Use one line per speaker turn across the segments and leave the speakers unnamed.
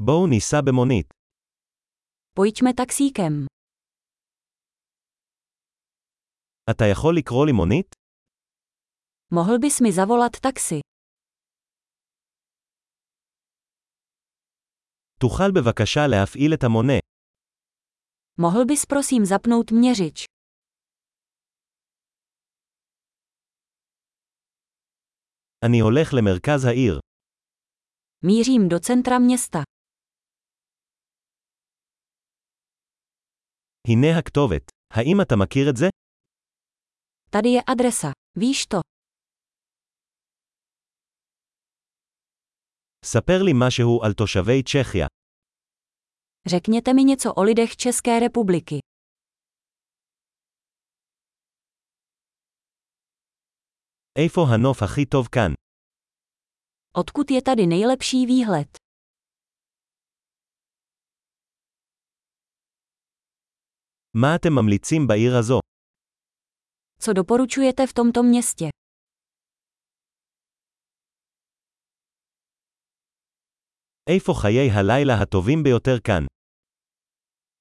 בואו ניסע במונית.
Pojďme taxíkem.
אתה יכול לקרוא לי מונית?
Mohl bys mi zavolat taxi?
תוכל בבקשה להפעיל את המונה.
Mohl bys prosím zapnout měřič?
אני הולך למרכז העיר.
Mířím do centra města.
הנה הכתובת. האם אתה מכיר את זה?
Tady je adresa. Víš to?
ספר לי משהו על תושבי צ'כיה.
Řekněte mi něco o lidech České republiky.
איפה הנוף הכי טוב כאן?
Odkud je tady nejlepší výhled?
מה אתם ממליצים בעיר הזו?
Co doporučujete v tomto městě?
איפה חיי הלילה הטובים ביותר כאן?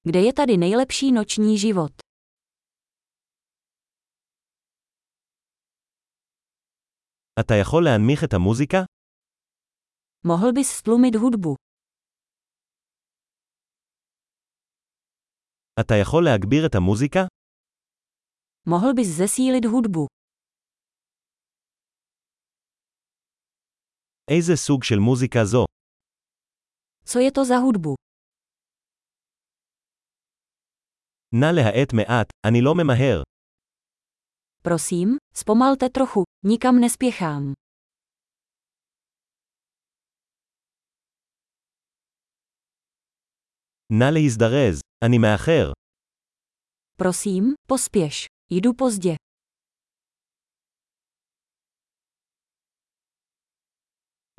Kde je tady nejlepší noční život?
אתה יכול להנמיך את המוזיקה?
Mohl bys stlumit hudbu?
אתה יכול להגביר את המוזיקה?
Mohl bys zesílit hudbu?
איזה סוג של מוזיקה זו?
Co je to za hudbu?
נא להאט מעט, אני לא ממהר.
Prosím, zpomalte trochu, nikam nespěchám.
נא להזדרז, אני מאחר.
Prosím, pospěš. Jdu pozdě.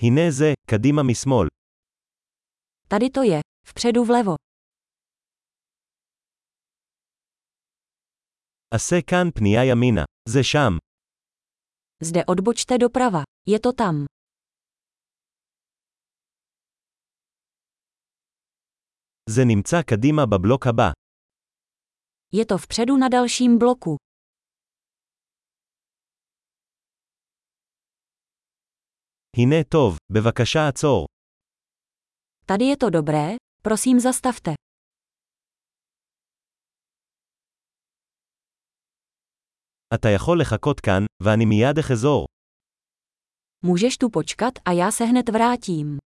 הנה זה, קדימה משמאל.
Tady to je, vpředu vlevo.
עשה כאן פנייה ימינה. זה שם.
Zde odbočte doprava. Je to tam.
זה נמצא קדימה בבלוק הבא.
Je to vpředu na dalším bloku.
הנה טוב, בבקשה עצור.
Tady je to dobré, prosím zastavte.
אתה יכול לחכות כאן, ואני מיד אחזור.
Můžeš tu počkat a já se hned vrátím.